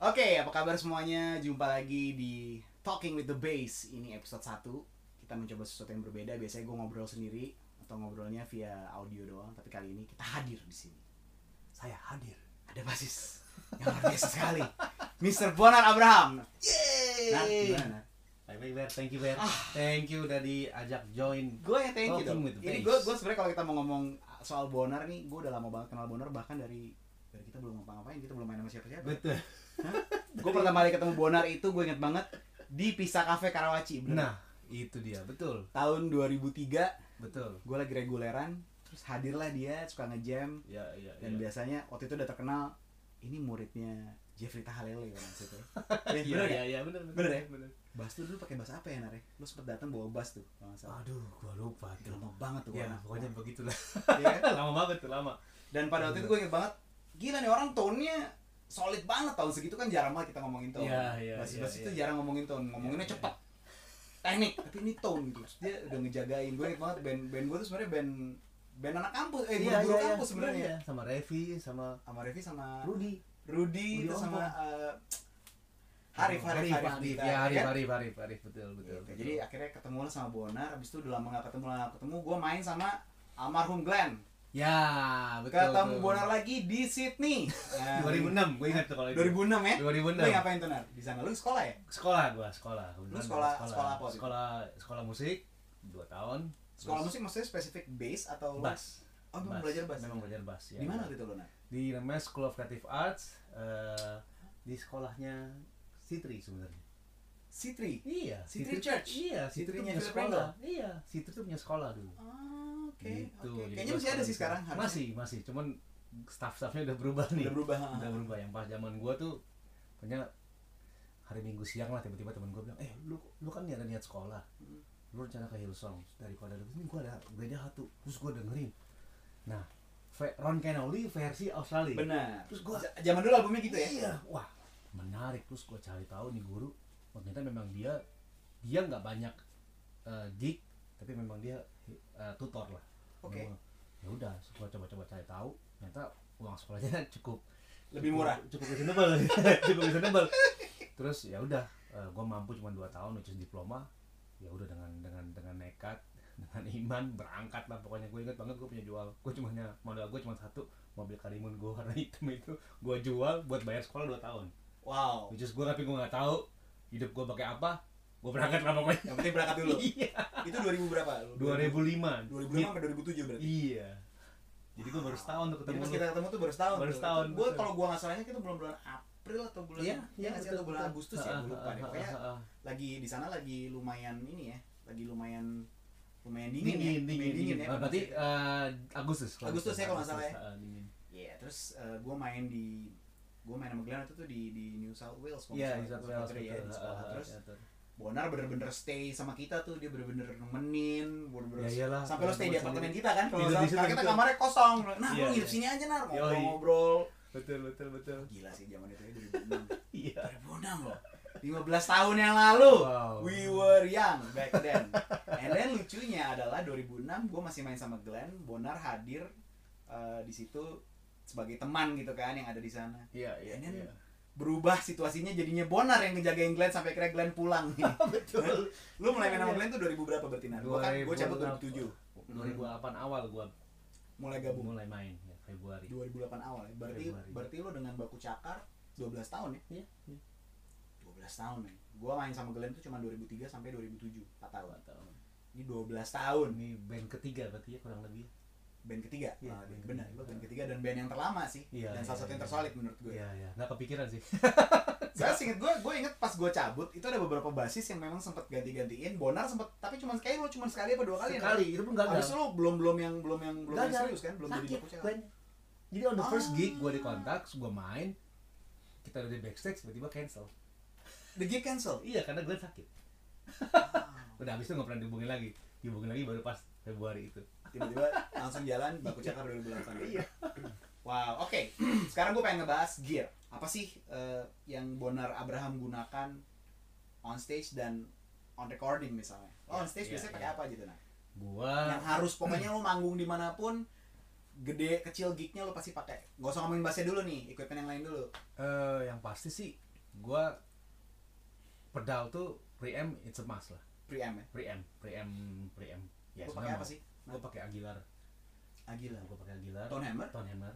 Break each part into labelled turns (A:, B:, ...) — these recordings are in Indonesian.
A: kabar semuanya? Jumpa lagi di Talking with the Bass. Ini episode 1. Kita mencoba sesuatu yang berbeda. Biasanya gue ngobrol sendiri atau ngobrolnya via audio doang, tapi kali ini kita hadir di sini.
B: saya hadir.
A: Ada basis yang luar biasa sekali. Mr. Bonar Abraham. Nah,
B: Yeay.
A: gimana?
B: Baik, baik, Ber. Thank you, Ber.
A: Ah.
B: Thank you udah diajak join.
A: Gue yang thank you
B: Talking
A: dong.
B: with the
A: Jadi
B: Bass.
A: gue gue sebenarnya kalau kita mau ngomong soal Bonar nih, gue udah lama banget kenal Bonar bahkan dari dari kita belum ngapa-ngapain, kita belum main sama siapa-siapa.
B: Betul.
A: Gue pertama kali ketemu Bonar itu gue inget banget di Pisa Cafe Karawaci. bener.
B: Nah, itu dia. Betul.
A: Tahun 2003
B: Betul.
A: gue lagi reguleran terus hadirlah dia suka ngejam
B: Ya, ya,
A: dan
B: ya.
A: biasanya waktu itu udah terkenal ini muridnya Jeffrey Tahalele ya maksudnya ya,
B: Iya,
A: bener
B: iya,
A: ya?
B: iya, bener, bener.
A: Bener ya?
B: Bener.
A: Bass tuh dulu pakai bass apa ya Nare? Lu sempet datang bawa bass tuh kalau nggak salah.
B: Aduh, gua lupa
A: Itu
B: tuh.
A: lama banget tuh
B: Ya,
A: warna.
B: pokoknya begitulah.
A: Iya kan?
B: lama banget tuh, lama.
A: Dan pada waktu itu
B: Iya.
A: gue inget banget, gila nih orang tone-nya solid banget tahun segitu kan jarang banget kita ngomongin tone.
B: Iya, iya,
A: Bass-bass
B: iya,
A: itu
B: iya.
A: jarang ngomongin tone, ngomonginnya
B: Iya, iya.
A: cepet. Teknik, tapi ini tone gitu. Terus dia udah ngejagain. Gue inget banget band band gue tuh sebenarnya band band anak kampus, eh guru-guru kampus sebenarnya.
B: Iya, Sama Revi, sama
A: Sama Revi sama
B: Rudi.
A: Rudy itu
B: Rudi
A: sama
B: Ompong.
A: eh, Arif, Arif, Arif,
B: Arif.
A: Dita,
B: Ya, Arif,
A: kan?
B: Arif, Arif, Arif. Betul, betul.
A: Gitu.
B: betul.
A: Jadi akhirnya ketemu lah sama Bonar, abis itu udah lama gak ketemu lah ketemu, gue main sama almarhum Glenn
B: ya, betul.
A: Ketemu
B: tuh.
A: Bonar lagi di Sydney Nah,
B: 2006, gue ingat tuh kalau itu.
A: 2006 ya?
B: 2006.
A: Lu ngapain tuh Nar? Di sana, lu sekolah ya?
B: sekolah gua sekolah kebetulan
A: Lu sekolah-
B: gua
A: sekolah apa waktu itu?
B: sekolah sekolah musik dua tahun
A: Sekolah
B: Terus
A: musik maksudnya spesifik bass atau? lu-
B: bass
A: Oh, memang belajar bass?
B: memang belajar bass ya
A: Di mana waktu itu lu Nar?
B: di namanya School of Creative Arts eh, di sekolahnya Sitri sebenarnya
A: Sitri?
B: iya
A: Sitri Church?
B: iya
A: Sitri
B: Sitri,
A: yang
B: punya
A: Philip
B: sekolah iya Sitri tuh punya sekolah dulu
A: Ah, oke,
B: Gitu,
A: oke.
B: jadi
A: Kayaknya
B: gua
A: masih ada
B: sekolah
A: sih
B: di
A: sekarang
B: sana.
A: harusnya.
B: masih masih cuman staff-staffnya udah berubah nih
A: Udah berubah, ha.
B: udah berubah yang pas zaman gua tuh pokoknya hari minggu siang lah tiba-tiba temen gua bilang eh lu lu kan ada niat sekolah
A: Hmm.
B: lu rencana ke Hillsong daripada lu ini gua ada gereja satu terus gua dengerin nah Ve- Ron Kenoly versi Australia
A: Benar.
B: Terus gua-
A: Z- Zaman dulu albumnya gitu ya?
B: iya wah menarik terus gua cari tahu nih guru oh, ternyata memang dia dia nggak banyak eh, gig tapi memang dia eh, tutor lah
A: Oke.
B: Memang- ya udah gua coba-coba cari tahu ternyata uang sekolahnya cukup
A: Lebih
B: cukup-
A: murah.
B: cukup reasonable cukup reasonable terus ya udah eh, gua mampu cuma dua tahun nulis diploma ya udah dengan dengan dengan nekat dengan iman berangkat lah pokoknya gue ingat banget gue punya jual gue cuma hanya- modal gue cuma satu mobil karimun gue warna hitam itu gue jual buat bayar sekolah dua tahun
A: Wow.
B: which is gue tapi gue nggak tahu hidup gue pakai apa gue berangkat lah pokoknya
A: Yang penting berangkat dulu.
B: iya
A: Itu 2000 berapa? 2005
B: 2005
A: sampai 2007 berarti.
B: iya jadi gue baru setahun tuh
A: Jadi
B: ketemu
A: pas
B: lu.
A: kita ketemu tuh baru setahun.
B: Baru setahun,
A: Gue
B: betul.
A: kalau gue nggak salahnya kita bulan bulan April atau bulan
B: Iya,
A: ya
B: iya,
A: nggak sih?
B: betul,
A: atau bulan
B: betul.
A: Agustus ya,
B: Ah,
A: gue lupa deh.
B: ah, ah,
A: Pokoknya
B: ah, ah.
A: lagi di sana lagi lumayan ini ya, lagi lumayan lumayan dingin, ya,
B: dingin dingin
A: lumayan
B: dingin
A: ya.
B: Ah, berarti eh, Agustus
A: Agustus ya kalau nggak salah
B: Agustus,
A: ya.
B: ah, dingin.
A: Iya, terus gue main di gue main sama Glenn itu tuh di di New South Wales kalau
B: iya
A: nggak
B: eh, di
A: salah,
B: satu
A: South Wales ya, di
B: Ah,
A: sekolah. terus
B: iya.
A: Bonar bener-bener stay sama kita tuh dia bener-bener nemenin bener-bener
B: Ya iyalah,
A: sampai lo stay di
B: kalau gua
A: apartemen
B: sendiri.
A: kita kan kalau
B: Tidur
A: nggak
B: di situ,
A: salah. Karena kita
B: betul.
A: kamarnya kosong nah
B: Iya,
A: lo nginep
B: iya.
A: sini aja nar
B: Yoi.
A: ngobrol-ngobrol
B: betul betul betul
A: gila sih zaman itu ya 2006
B: iya
A: 2006 loh 15 tahun yang lalu
B: Wow.
A: we were young back then and then lucunya adalah 2006 gue masih main sama Glenn Bonar hadir eh, di situ sebagai teman gitu kan yang ada di sana
B: iya iya
A: And then
B: iya.
A: berubah situasinya jadinya Bonar yang ngejagain Glenn sampai akhirnya Glenn pulang nih
B: betul
A: lu mulai main sama Glenn tuh 2000 berapa berarti Nar? Gua kan gue cabut 2007
B: 2008 awal gua
A: mulai gabung
B: mulai main ya, Februari
A: 2008 awal ya berarti
B: Februari.
A: berarti lu dengan baku cakar 12 tahun ya
B: iya iya.
A: 12 tahun nih. Gua main sama Glenn tuh cuma 2003 sampai 2007, 4 tahun.
B: Nggak tahu.
A: Ini 12 tahun.
B: ini band ketiga berarti ya kurang lebih
A: Band ketiga.
B: Iya,
A: Nah,
B: band
A: benar,
B: ketiga.
A: gua band ketiga dan band yang terlama sih.
B: Iya,
A: dan salah
B: iya,
A: satu yang
B: iya.
A: tersolid menurut gue.
B: iya iya nggak kepikiran sih
A: Saya inget gue, gue inget pas gue cabut itu ada beberapa basis yang memang sempat ganti-gantiin. Bonar sempat, tapi cuma kayak lu cuma sekali apa dua kali. ya,
B: sekali itu pun
A: Nah?
B: gagal
A: Habis itu lu belum belum yang belum yang belum yang
B: Gagal.
A: serius kan, belum jadi
B: Sakit,
A: baku cakar.
B: Glenn. Jadi on the first
A: Ah.
B: gig gue dikontak, gue main, kita udah di backstage tiba-tiba cancel.
A: The gig cancel.
B: Iya karena Glenn sakit.
A: Ah.
B: Udah habis itu nggak pernah dihubungin lagi, dihubungin lagi baru pas Februari itu.
A: Tiba-tiba langsung jalan baku cakar 2008. Iya. Wow, oke. Sekarang gue pengen ngebahas gear. Apa sih eh, yang Bonar Abraham gunakan on stage dan on recording misalnya? Lo on
B: Iya,
A: stage
B: iya,
A: biasanya
B: iya.
A: pakai apa gitu nah?
B: Gua
A: Yang harus pokoknya lo manggung dimanapun, gede kecil gignya lo pasti pakai. Gak usah ngomongin bassnya dulu nih, equipment yang lain dulu.
B: eh, yang pasti sih gue pedal tuh preamp it's a must lah
A: Preamp ya.
B: preamp preamp preamp ya
A: Lu pakai apa sih? Ah,
B: gue pakai Aguilar
A: Agila.
B: gue pakai Aguilar
A: Tone Hammer?
B: Tone Hammer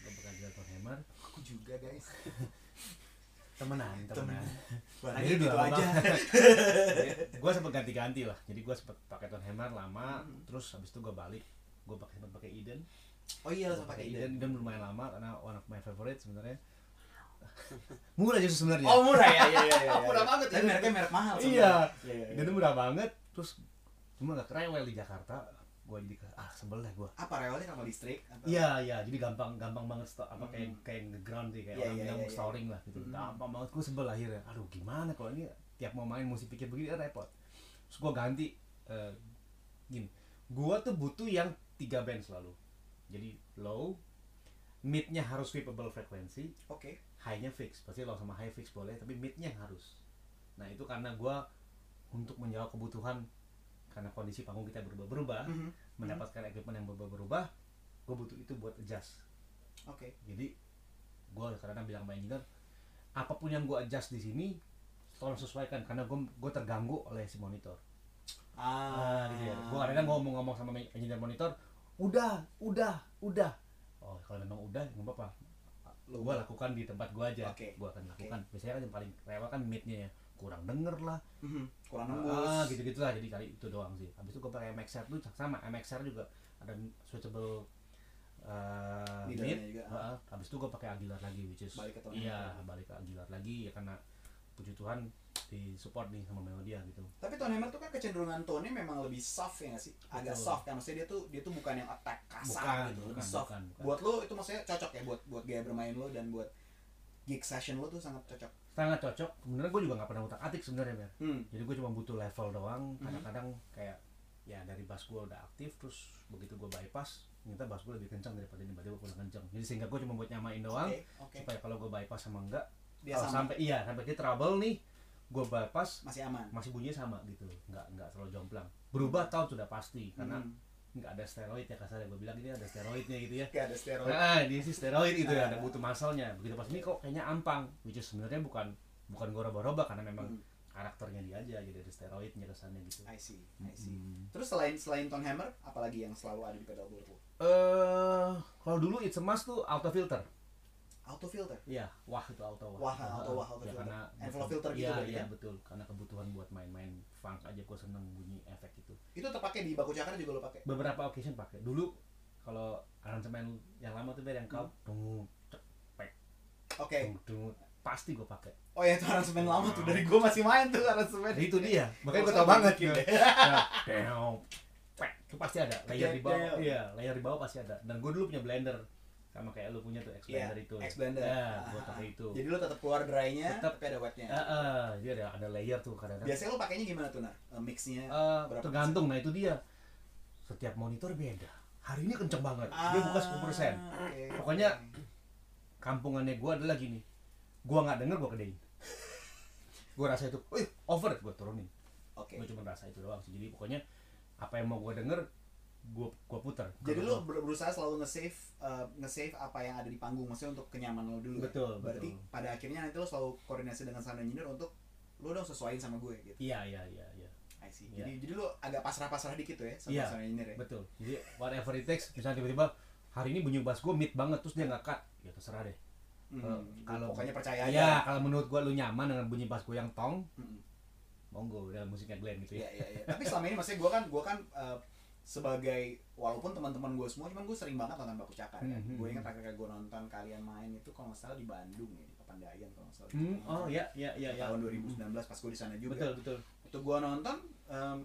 B: gue pakai Aguilar Tone Hammer
A: Aku juga guys.
B: temenan temenan
A: Barangnya
B: Akhirnya
A: gitu
B: udah lama.
A: aja.
B: gue sempet ganti-ganti lah jadi gue sempet pakai Tone Hammer lama terus habis itu gue balik gue pakai sempet pakai Eden
A: Oh iya
B: Gua
A: langsung pakai Iden.
B: Eden lumayan lama karena one of my favorite sebenarnya murah justru sebenarnya
A: Oh murah ya, iya iya iya.
B: iya,
A: murah
B: iya.
A: banget. Tapi mereknya merek mahal.
B: iya
A: sebenarnya. Iya.
B: dan itu
A: iya.
B: murah banget terus cuma nggak kerewel di Jakarta gue jadi ke- ah sebel deh gue
A: Apa rewelnya kapal listrik? atau-
B: Iya iya jadi gampang gampang banget sto- apa kayak
A: Hmm.
B: kayak ngeground sih kayak
A: Iya,
B: orang
A: iya,
B: bilang
A: iya, iya.
B: storing lah gitu.
A: Hmm.
B: Gampang banget gue sebel akhirnya. Aduh gimana kalau ini tiap mau main mesti pikir begini eh, repot. Terus gue ganti eh, gini. Gue tuh butuh yang tiga band selalu. Jadi low, midnya harus sweepable frekuensi,
A: Oke.
B: high-nya fix. Pasti low sama high fix boleh, tapi midnya harus. Nah itu karena gue untuk menjawab kebutuhan karena kondisi panggung kita berubah-berubah,
A: Mhm.
B: mendapatkan equipment yang berubah-berubah, gue butuh itu buat adjust.
A: Oke.
B: Jadi gue karena bilang sama engineer, apapun yang gue adjust di sini, tolong sesuaikan karena gue gue terganggu oleh si monitor. Ah, gitu
A: iya.
B: ya. Gue
A: kan,
B: kadang ngomong-ngomong sama engineer monitor, udah, udah, udah. Oh kalau memang udah nggak apa-apa. Gue lakukan di tempat gue aja.
A: Oke.
B: Gue akan lakukan. Biasanya kan yang paling rewel kan midnya ya kurang denger lah,
A: Mhm. Kurang nembus.
B: ah, gitu-gitu lah jadi kali itu doang sih. Habis itu gue pakai MXR tuh sama MXR juga ada switchable eh,
A: Middle-nya
B: mid.
A: juga.
B: Heeh. Habis itu gue pakai Aguilar lagi which is
A: Balik ke Tony
B: iya
A: Hawk.
B: balik ke Aguilar lagi ya karena puji Tuhan di support nih sama Melodia gitu.
A: Tapi Tone Hammer tuh kan kecenderungan tone-nya memang lebih soft ya nggak sih? Agak
B: Betul.
A: soft kan maksudnya dia tuh dia tuh bukan yang attack
B: Bukan,
A: kasar gitu, lebih
B: bukan,
A: soft.
B: bukan, bukan.
A: Buat lo itu maksudnya cocok ya buat buat gaya bermain lo dan buat gig session lo tuh sangat cocok.
B: Sangat cocok. Sebenarnya gue juga nggak pernah utak atik sebenarnya Mer.
A: Hmm.
B: Jadi gue cuma butuh level doang.
A: Mhm.
B: Kadang-kadang kayak ya dari bass gue udah aktif terus begitu gue bypass ternyata bass gue lebih kencang daripada ini tiba gue kurang kencang. Jadi sehingga gue cuma buat nyamain doang.
A: Oke, oke.
B: supaya kalau gue bypass sama enggak
A: Dia
B: kalau
A: sama.
B: sampai iya sampai dia trouble nih gue bypass
A: Oh, Masih aman.
B: masih bunyinya sama gitu nggak nggak terlalu jomplang berubah tahun sudah pasti karena
A: Mhm.
B: nggak ada steroid ya kasarnya gue bilang ini ada steroidnya gitu ya
A: Gak ada steroid.
B: ah dia sih steroid itu ya
A: Ah.
B: ada butuh masalnya begitu pas ini kok kayaknya ampang which is sebenarnya bukan bukan gue roba-roba karena memang
A: Hmm.
B: karakternya dia aja jadi ada steroidnya kesannya gitu
A: I see, I see.
B: Hmm.
A: Terus selain selain tone hammer, apalagi yang selalu ada di pedalboard lo?
B: eh kalau dulu it's a must tuh auto filter
A: Auto filter.
B: Iya, wah itu auto
A: Wah, auto wah, auto
B: ya,
A: filter.
B: karena
A: Envelope filter gitu
B: iya,
A: berarti
B: iya,
A: ya?
B: betul. Karena kebutuhan buat main-main funk aja gue seneng bunyi efek itu.
A: Itu terpakai di baku cakar juga lo pakai.
B: Beberapa occasion pakai. Dulu kalau aransemen yang lama tuh Ber, yang
A: Hmm.
B: kau dungu cepek,
A: Oke.
B: dungu, dungu, pasti gue pakai.
A: Oh ya itu aransemen lama tuh dari gua masih main tuh aransemen.
B: Nah, itu dia. Makanya gue
A: Gak
B: tau
A: usah
B: banget
A: dibikin
B: gitu. Nah, deong, pek, itu pasti ada. Layer di bawah,
A: Deong.
B: iya, layer di bawah pasti ada. Dan gue dulu punya blender sama kayak lu punya tuh X
A: Iya,
B: blender itu.
A: X blender.
B: Ya,
A: Ah,
B: gue
A: ah,
B: pakai
A: ah.
B: itu.
A: Jadi lo tetap keluar dry-nya,
B: Tetap.
A: tapi ada wetnya.
B: Ah, ah, dia ada ada layer tuh kadang-kadang.
A: Biasanya lo pakainya gimana tuh, Nar? Eh, Mix-nya?
B: Eh,
A: Berapa
B: tergantung nah itu dia setiap monitor beda hari ini kenceng banget
A: Ah,
B: dia buka 10
A: oke.
B: Pokoknya- kampungannya gua adalah gini gua nggak denger gua kedein gua rasa itu "Wih, over gua turunin
A: Oke.
B: gua cuma rasa itu doang sih jadi pokoknya apa yang mau gua denger gua gua puter
A: Jadi lo
B: Kalau
A: ber- berusaha selalu nge-save eh, nge-save apa yang ada di panggung maksudnya untuk kenyaman lo dulu. ya?
B: Betul,
A: Berarti
B: betul.
A: pada akhirnya nanti lo selalu koordinasi dengan sound engineer untuk lo dong sesuaiin sama gue gitu.
B: iya iya iya iya
A: I see.
B: Iya.
A: Jadi jadi lo agak pasrah-pasrah dikit tuh ya sama
B: Iya.
A: sound engineer ya.
B: betul jadi whatever it takes misalnya tiba-tiba hari ini bunyi bass gua mid banget terus dia nggak cut ya terserah deh
A: Hmm,
B: eh, Kalau-
A: pokoknya percaya
B: ya,
A: aja. Hmm.
B: kalau menurut gua lu nyaman dengan bunyi bass gua yang tong
A: Mm-mm.
B: monggo dalam musiknya Glenn gitu ya
A: Iya iya iya. Tapi selama ini maksudnya gue kan gue kan eh, sebagai walaupun teman-teman gue semua, cuman gue sering banget nonton Baku Cakar. Kan?
B: Mhm.
A: Gue ingat terakhir kali gue nonton kalian main itu kalau nggak salah di Bandung ya di Papandayan kalau nggak salah.
B: Hmm, oh ya ya ya ya.
A: Tahun 2019 pas gue di sana juga.
B: Betul betul.
A: Itu gue nonton em,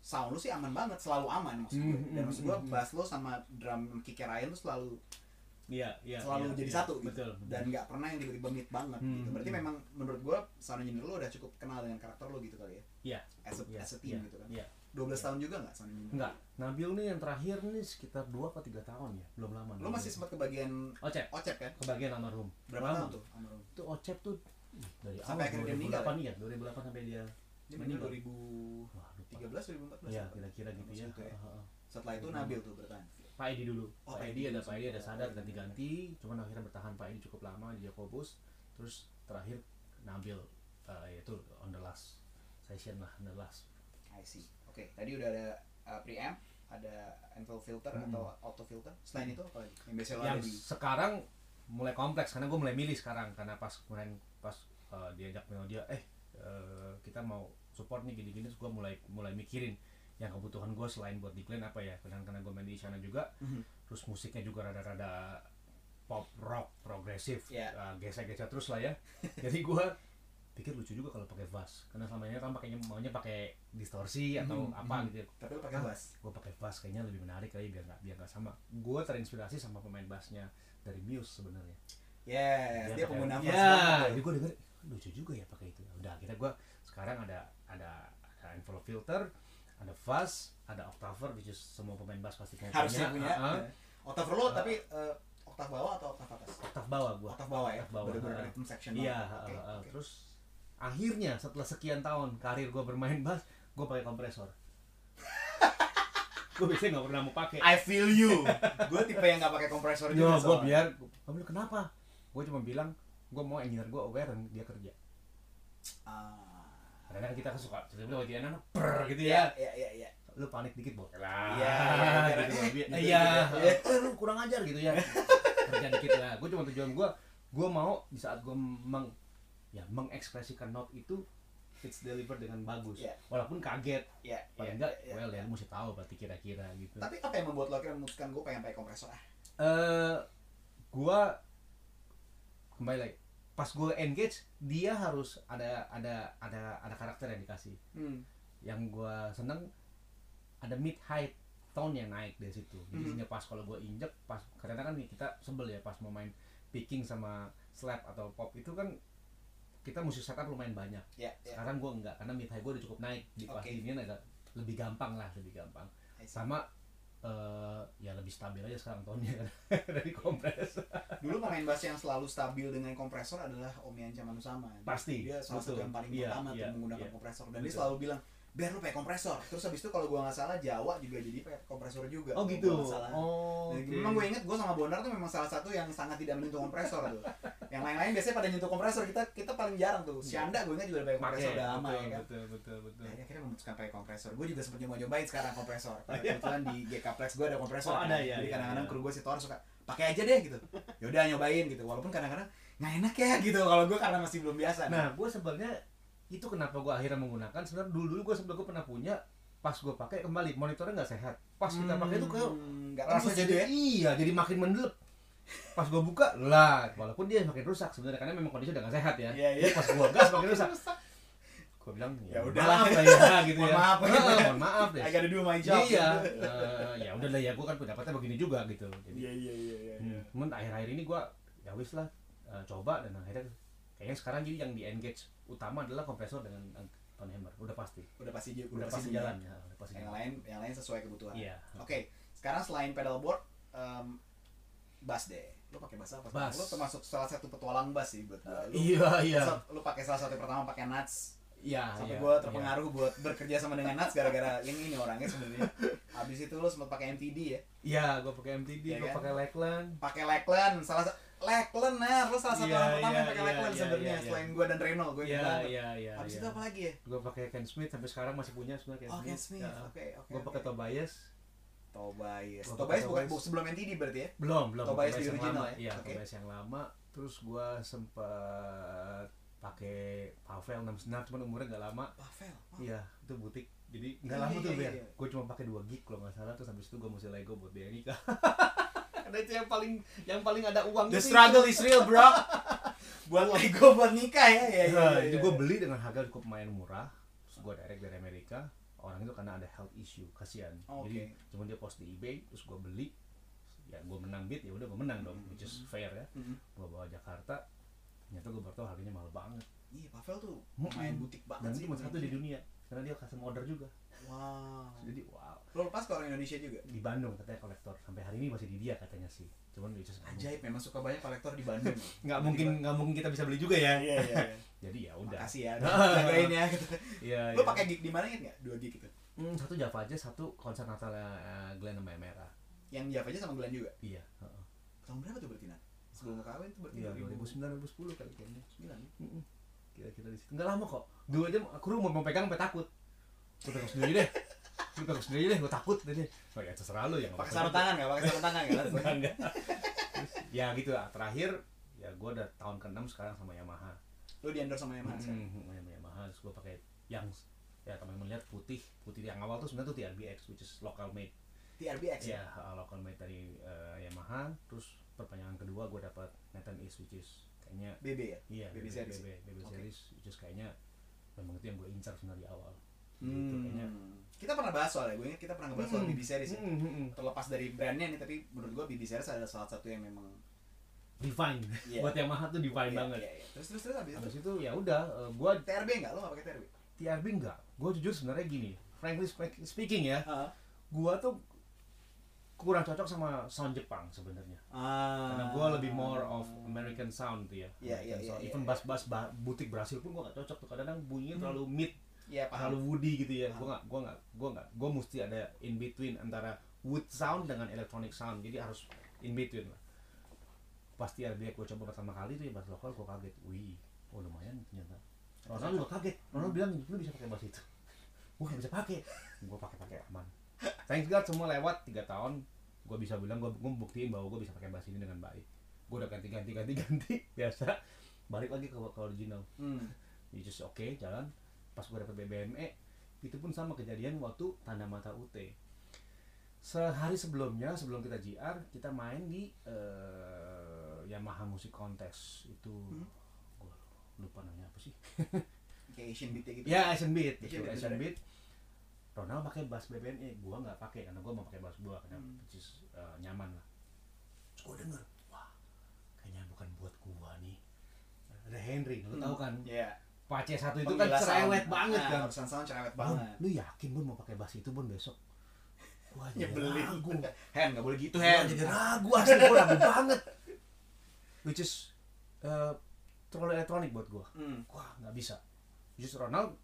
A: sound lu sih aman banget, selalu aman maksud gue.
B: Mhm,
A: Dan maksud gue
B: mhm, mhm.
A: bass lo sama drum kick Ryan tuh selalu
B: Iya iya.
A: selalu
B: iya,
A: jadi
B: iya.
A: satu gitu.
B: Betul.
A: dan nggak pernah yang tiba-tiba meet banget
B: Hmm,
A: gitu. Berarti
B: hmm.
A: memang menurut gue sound engineer lo udah cukup kenal dengan karakter lo gitu kali ya.
B: Iya.
A: As a,
B: Iya,
A: as a team
B: iya,
A: gitu kan.
B: Iya.
A: 12 tahun juga nggak sound engineer?
B: Enggak. Nabil nih yang terakhir nih sekitar 2 atau 3 tahun ya, belum lama.
A: Lo
B: Nabil.
A: masih sempat kebagian
B: Ocep,
A: Ocep kan?
B: kebagian almarhum.
A: Berapa
B: Lama.
A: tahun tuh? Almarhum?
B: Itu Ocep tuh ih, dari
A: Sampai akhirnya dia meninggal, ya?
B: 2008 iya, 2008 sampai dia
A: Dia meninggal
B: Meninggal.
A: 2013
B: wah lupa.
A: 2014.
B: Iya,
A: apa?
B: kira-kira gitu ya.
A: Maksudnya.
B: Ha, ha, ha.
A: Setelah itu
B: Hmm.
A: Nabil tuh bertahan.
B: Pak Edi dulu.
A: Oh, Pak
B: Pak
A: Edi
B: Edi ada
A: langsung.
B: Pak Edi ada sadar
A: Oh, iya.
B: ganti-ganti, cuman akhirnya bertahan Pak Edi cukup lama di Jakobus. Terus terakhir nampil eh, yaitu on the last session lah on the last
A: I see. Oke, tadi udah ada uh, preamp, ada envelope filter
B: Hmm.
A: atau auto filter. Selain itu apa lagi? Yang biasanya lo
B: yang
A: ada di
B: sekarang mulai kompleks karena gue mulai milih sekarang karena pas kemarin pas uh, diajak Melodia eh uh, kita mau support nih gini-gini terus gue mulai mulai mikirin yang kebutuhan gue selain buat decline apa ya karena karena gue main di sana juga
A: Mhm.
B: terus musiknya juga rada-rada pop rock progresif
A: Iya.
B: uh, gesek-gesek terus lah ya jadi gue pikir lucu juga kalau pakai bass karena selama ini kan pakainya maunya pakai distorsi atau
A: Mhm,
B: apa
A: mhm.
B: gitu
A: tapi lo pakai bass.
B: gue pakai bass kayaknya lebih menarik kali biar nggak biar nggak sama gue terinspirasi sama pemain bassnya dari Muse sebenarnya
A: Yes, Eh, dia
B: pakai-
A: pengguna bass
B: ya
A: banget.
B: jadi gue denger lucu juga ya pakai itu udah akhirnya gue sekarang ada ada ada envelope filter ada fuzz ada octaver which is semua pemain bass pasti punya eh,
A: Harusnya punya.
B: Heeh.
A: Otak lo tapi uh, oktav bawah atau oktav atas?
B: octave Uh-huh. bawah gue
A: Oktav bawah ya.
B: Oktav bawah,
A: Bener-bener
B: ha.
A: rhythm section.
B: iya
A: banget. Oke,
B: heeh, heeh.
A: oke.
B: terus akhirnya setelah sekian tahun karir gue bermain bass gue pakai kompresor gue biasanya nggak pernah mau pakai
A: I feel you. gue tipe yang gak pakai kompresor
B: Yo,
A: juga
B: gue
A: soalnya.
B: biar kamu bilang, kenapa? Gue cuma bilang gue mau engineer gue aware dan dia kerja.
A: Ah.
B: Kadang-kadang kita suka tiba-tiba lagi anak per gitu
A: Iya,
B: ya.
A: iya, iya, iya.
B: Lu panik dikit boleh lah.
A: Iya, iya, iya.
B: gitu. Biar-
A: Gitu,
B: Iya.
A: gitu, iya.
B: Eh, Lu kurang ajar gitu ya. kerja dikit lah. Gue cuma tujuan gue gue mau di saat gue meng ya mengekspresikan note itu it's delivered dengan bagus.
A: Iya.
B: Walaupun kaget.
A: Iya, iya,
B: Paling enggak,
A: iya.
B: well ya lu mesti tahu berarti kira-kira gitu.
A: Tapi apa yang membuat lo akhirnya memutuskan gue pengen pakai kompresor ah?
B: eh gua kembali lagi pas gue engage dia harus ada ada ada ada karakter yang dikasih
A: Hmm.
B: yang gua seneng ada mid high tone yang naik dari situ jadi
A: Mhm.
B: sehingga pas kalau gua injek pas karena kan kita sebel ya pas mau main picking sama slap atau pop itu kan kita mesti setup lumayan banyak
A: Iya, iya.
B: sekarang gua enggak karena mid high gua udah cukup naik di pas
A: Oke.
B: ini agak lebih gampang lah lebih gampang
A: I see.
B: sama eh ya lebih stabil aja sekarang tonnya dari kompres
A: Dulu pemain bass yang selalu stabil dengan kompresor adalah Om Yan Camanusama. Dia-
B: Pasti,
A: Dia salah satu
B: betul.
A: yang paling
B: Iya,
A: pertama
B: iya,
A: tuh menggunakan
B: iya.
A: kompresor dan dia
B: Betul.
A: selalu bilang biar lu pakai kompresor. Terus habis itu kalau gua nggak salah Jawa juga jadi pakai kompresor juga.
B: oh
A: Kalau
B: gitu
A: gua nggak salah.
B: oh
A: Dan
B: oke.
A: Memang gue inget gue sama Bonar tuh memang salah satu yang sangat tidak menyentuh kompresor tuh. Yang lain-lain biasanya pada nyentuh kompresor kita kita paling jarang tuh. Sianda gue inget juga pakai
B: Pakai,
A: kompresor udah lama ya
B: betul,
A: kan.
B: betul betul betul
A: Nah, akhirnya memutuskan pakai kompresor. Gue juga sempet nyoba-nyobain sekarang kompresor. Karena kebetulan di GK Plex gue ada kompresor.
B: iya? Oh, ada,
A: kan.
B: ya,
A: Jadi
B: ya,
A: kadang-kadang
B: ya.
A: kru gue si Thor suka pakai aja deh gitu. Ya udah nyobain gitu. Walaupun kadang-kadang nggak enak ya gitu kalau gue karena masih belum biasa.
B: nah gue sebenarnya itu kenapa gue akhirnya menggunakan sebenarnya dulu dulu gue sebelum gue pernah punya pas gue pakai kembali monitornya nggak sehat pas kita pakai itu kayak
A: nggak terasa Hmm. jadi ya.
B: iya jadi makin mendelep pas gue buka lah walaupun dia makin rusak sebenarnya karena memang kondisi udah nggak sehat ya
A: Iya, iya.
B: Jadi pas gue gas makin rusak gue bilang
A: Ya
B: ya,
A: udah.
B: udahlah maaf lah ya gitu
A: Mohon
B: ya
A: maaf.
B: Heeh, mohon maaf ya
A: Agak ada dua main job.
B: iya eh, ya udah lah ya gue kan pendapatnya begini juga gitu jadi
A: Iya iya iya iya, iya.
B: hmm, cuman akhir-akhir ini gue ya wis lah eh, coba dan akhirnya kayaknya sekarang jadi yang di engage utama adalah kompresor dengan eh, tone hammer udah pasti
A: Udah pasti
B: Iya, udah, pasti
A: punya.
B: jalan ya, udah pasti
A: yang
B: jalan
A: lain yang lain sesuai kebutuhan.
B: Iya.
A: Oke, sekarang selain pedalboard, em bass deh. Lu pakai bass apa?
B: Bass.
A: Lu termasuk salah satu petualang bass sih buat gua. Lu,
B: iya iya
A: sa- lu pakai salah satu yang pertama pakai nuts.
B: iya
A: Sampai
B: iya,
A: gua
B: iya.
A: terpengaruh buat bekerja sama dengan nuts gara-gara yang ini orangnya sebenarnya. Habis itu lu sempat pakai MTD ya.
B: Iya, gue pakai
A: Iya
B: MTD, gue
A: kan?
B: pakai Lakeland.
A: Pakai Lakeland, salah sa- Lakeland nah, lu salah satu
B: Iya,
A: orang pertama
B: iya,
A: yang pakai
B: iya,
A: Lakeland
B: iya,
A: sebenarnya
B: iya, iya.
A: selain gua dan Reno, gua
B: Iya,
A: bilang.
B: iya, iya.
A: Habis
B: iya.
A: itu apa lagi ya?
B: Gue pakai Ken Smith sampai sekarang masih punya sebenarnya Ken
A: Oh, Ken
B: Smith.
A: Smith.
B: Ya.
A: Oke, oke.
B: Gue pakai
A: oke.
B: Tobias.
A: Tobias.
B: Gua pakai
A: Tobias bukan
B: Tobias.
A: sebelum MTD berarti ya?
B: Belum, belum.
A: Tobias di
B: yang
A: original
B: lama.
A: ya?
B: Iya,
A: Oke.
B: Tobias yang lama. Terus gue sempet pakai Pavel 66, cuman umurnya nggak lama.
A: Pavel. Wow.
B: Iya, itu butik. Jadi
A: Iya,
B: nggak lama
A: iya,
B: tuh
A: iya,
B: biar.
A: iya.
B: Gue cuma pakai dua gig kalau nggak salah. Terus habis itu gue mesti Lego buat biaya nikah. Karena itu yang paling yang paling ada uang.
A: The
B: itu
A: struggle is real, bro. buat Lego buat nikah ya. Ya, ya,
B: Nah,
A: ya,
B: itu
A: ya.
B: gue beli dengan harga cukup lumayan murah. Terus gue direct dari Amerika. Orang itu karena ada health issue, kasihan.
A: Oke.
B: Jadi cuma dia post di eBay, terus gue beli. Ya gue menang bid, ya udah gue menang dong, which is fair ya.
A: Mm-mm.
B: Gue bawa Jakarta, ternyata gue baru tau harganya mahal banget.
A: Iya, Pavel tuh
B: Mm-mm.
A: main butik banget
B: Dan
A: sih.
B: itu cuma satu di dunia, karena dia custom order juga.
A: Wow.
B: Jadi wow.
A: Lo lepas ke orang Indonesia juga.
B: Di Bandung katanya kolektor, sampai hari ini masih di dia katanya sih. Cuman which is nggak mungkin-
A: Ajaib, memang suka banyak kolektor di Bandung.
B: nggak mungkin nggak mungkin kita bisa beli juga
A: Iya,
B: ya.
A: iya, iya.
B: Jadi ya udah.
A: Makasih ya, udah jagain ya. Gitu.
B: Iya.
A: Lo
B: iya.
A: pakai gig di mana inget nggak? Dua gig gitu.
B: Hmm, satu Java aja, satu konser Natal eh, Glenn sama Merah.
A: Yang Java aja sama Glenn juga.
B: Iya. heeh.
A: Iya, Tahun berapa tuh berarti, Nat? Sebelum lo kawin tuh berarti
B: Iya, 2009 2010 kali kayaknya.
A: 2009 ya?
B: Mm-mm. kita kita di situ nggak lama kok dua jam kru mau, mau pegang sampai takut gue pegang sendiri deh gue pegang sendiri deh gue takut tadi oh ya terserah lu yang
A: pakai sarung tangan nggak pakai sarung tangan nggak langsung
B: enggak enggak Terus, ya gitu lah terakhir ya gue udah tahun ke sekarang sama Yamaha
A: lu di endorse sama Yamaha sekarang?
B: Hmm, sama Yamaha terus gue pakai yang ya teman melihat putih putih yang awal tuh sebenarnya tuh TRBX which is local made
A: TRBX ya
B: ya uh, local made dari uh, Yamaha terus perpanjangan kedua gue dapat Nathan East which is kayaknya
A: BB ya
B: Iya,
A: BB series.
B: BB, BB
A: Oke.
B: series, which is kayaknya memang itu yang gue incar sebenarnya di awal. Gitu, kayaknya.
A: hmm. kita pernah bahas soalnya gue ingat kita pernah ngebahas soal
B: Hmm.
A: BB series ya.
B: Hmm, hmm, hmm.
A: terlepas dari brandnya nih tapi menurut gue BB series adalah salah satu yang memang
B: Divine.
A: Iya.
B: Buat Yamaha tuh divine
A: Iya,
B: banget.
A: iya, iya. terus terus terus abis itu
B: Habis itu ya udah, eh, gue
A: TRB nggak lo nggak pakai TRB
B: TRB enggak. Gue jujur sebenarnya gini, frankly spe- speaking ya,
A: ah
B: gue tuh kurang cocok sama sound Jepang sebenarnya.
A: Ah.
B: Karena gue lebih more of American sound tuh ya.
A: Iya, iya, iya,
B: American sound.
A: iya, Hmm.
B: Even
A: iya.
B: bass-bass ba- butik Brasil pun gue gak cocok tuh. Kadang-kadang bunyinya terlalu mid
A: ya
B: terlalu
A: paham
B: woody gitu ya.
A: Paham.
B: Gua nggak, gua nggak, gua nggak, gua mesti ada in between antara wood sound dengan electronic sound. Jadi harus in between lah. Pasti ada gue coba pertama kali tuh ya bass lokal gue kaget. Wih, oh lumayan ternyata. Orang juga kaget. Orang bilang lu bisa pakai bass itu. Gua nggak bisa pakai. Gua pakai pakai aman. Thanks God semua lewat 3 tahun. Gua bisa bilang gua, gua buktiin bahwa gua bisa pakai bass ini dengan baik. Gua udah ganti ganti ganti ganti biasa. Balik lagi ke, ke original
A: hmm.
B: you just oke jalan pas gue dapet BBME E, itu pun sama kejadian waktu tanda mata UT sehari sebelumnya sebelum kita GR kita main di eh, Yamaha Music Contest itu
A: Hmm?
B: gua lupa namanya apa sih
A: kayak Asian Beat gitu
B: ya Asian Beat
A: Asian
B: betul
A: Beat,
B: Asian
A: betul.
B: Beat Ronald pakai bass BBME E, gua nggak pakai karena gua mau pakai bass gua karena
A: Hmm.
B: which is, eh, nyaman lah terus gua denger wah kayaknya bukan buat gua nih ada Henry lu tahu kan
A: ya
B: Pace satu itu kan cerewet banget kan.
A: urusan sound cerewet
B: Bun,
A: banget
B: lu yakin bun mau pakai bass itu bun besok? Gua jadi
A: nyebelin
B: ragu.
A: Hen nggak boleh gitu
B: Gua
A: Hen
B: jadi ragu asli gua ragu banget. Which is eh, terlalu elektronik buat gua.
A: Hmm.
B: Gua nggak bisa. Justru Ronald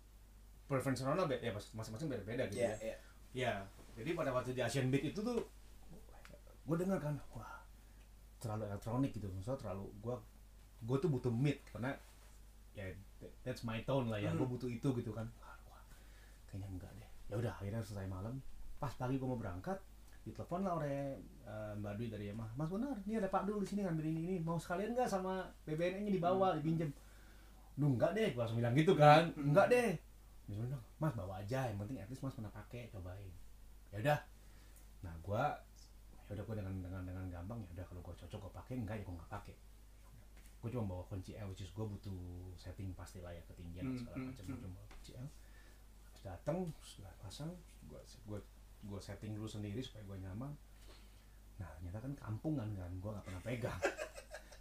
B: preference Ronald be- ya mas- masing-masing beda-beda gitu
A: Iya,
B: ya.
A: iya.
B: Ya, jadi pada waktu di Asian Beat itu tuh gua dengar kan, wah terlalu elektronik gitu. Maksudnya terlalu gua gua tuh butuh mid karena ya that- that's my tone lah ya
A: Hmm.
B: gue butuh itu gitu kan Wah, wah, kayaknya enggak deh ya udah akhirnya selesai malam pas pagi gue mau berangkat ditelepon lah oleh eh, mbak Dwi dari Yamaha mas benar ini ada Pak Dul di sini ngambil ini ini mau sekalian nggak sama BBN nya dibawa dipinjem Duh enggak deh, gue langsung bilang gitu kan
A: Hmm.
B: Enggak deh Dia bilang, "Dong, mas bawa aja, yang penting at least mas pernah pakai, cobain Ya udah Nah gue, ya udah gue dengan, dengan, dengan gampang, ya udah kalau gue cocok gue pakai, enggak ya gue nggak pakai gue cuma bawa kunci L which is gue butuh setting pasti lah ya ketinggian
A: Hmm,
B: segala
A: hmm,
B: macam gue
A: hmm.
B: cuma bawa kunci L Terus datang terus gua pasang gue gue gue setting dulu sendiri supaya gue nyaman nah ternyata kan kampungan kan gue nggak pernah pegang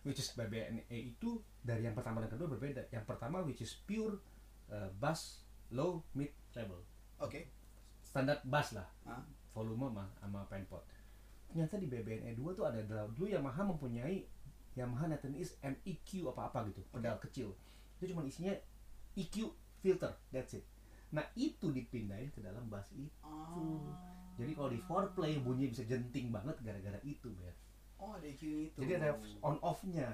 B: which is BBNE E itu dari yang pertama dan kedua berbeda yang pertama which is pure uh, bass low mid treble
A: Oke. Ah.
B: standar bass lah
A: Hah?
B: volume mah sama penpot. Ternyata di BBNE 2 E tuh ada drum. Dulu Yamaha mempunyai Yamaha Nathan East MEQ apa-apa gitu, pedal kecil. Itu cuma isinya EQ filter, that's it. Nah, itu dipindahin ke dalam bass itu. Gitu. Jadi kalau di foreplay bunyi bisa jenting banget gara-gara itu, Ber.
A: Oh, ada EQ itu.
B: Jadi ada on off-nya.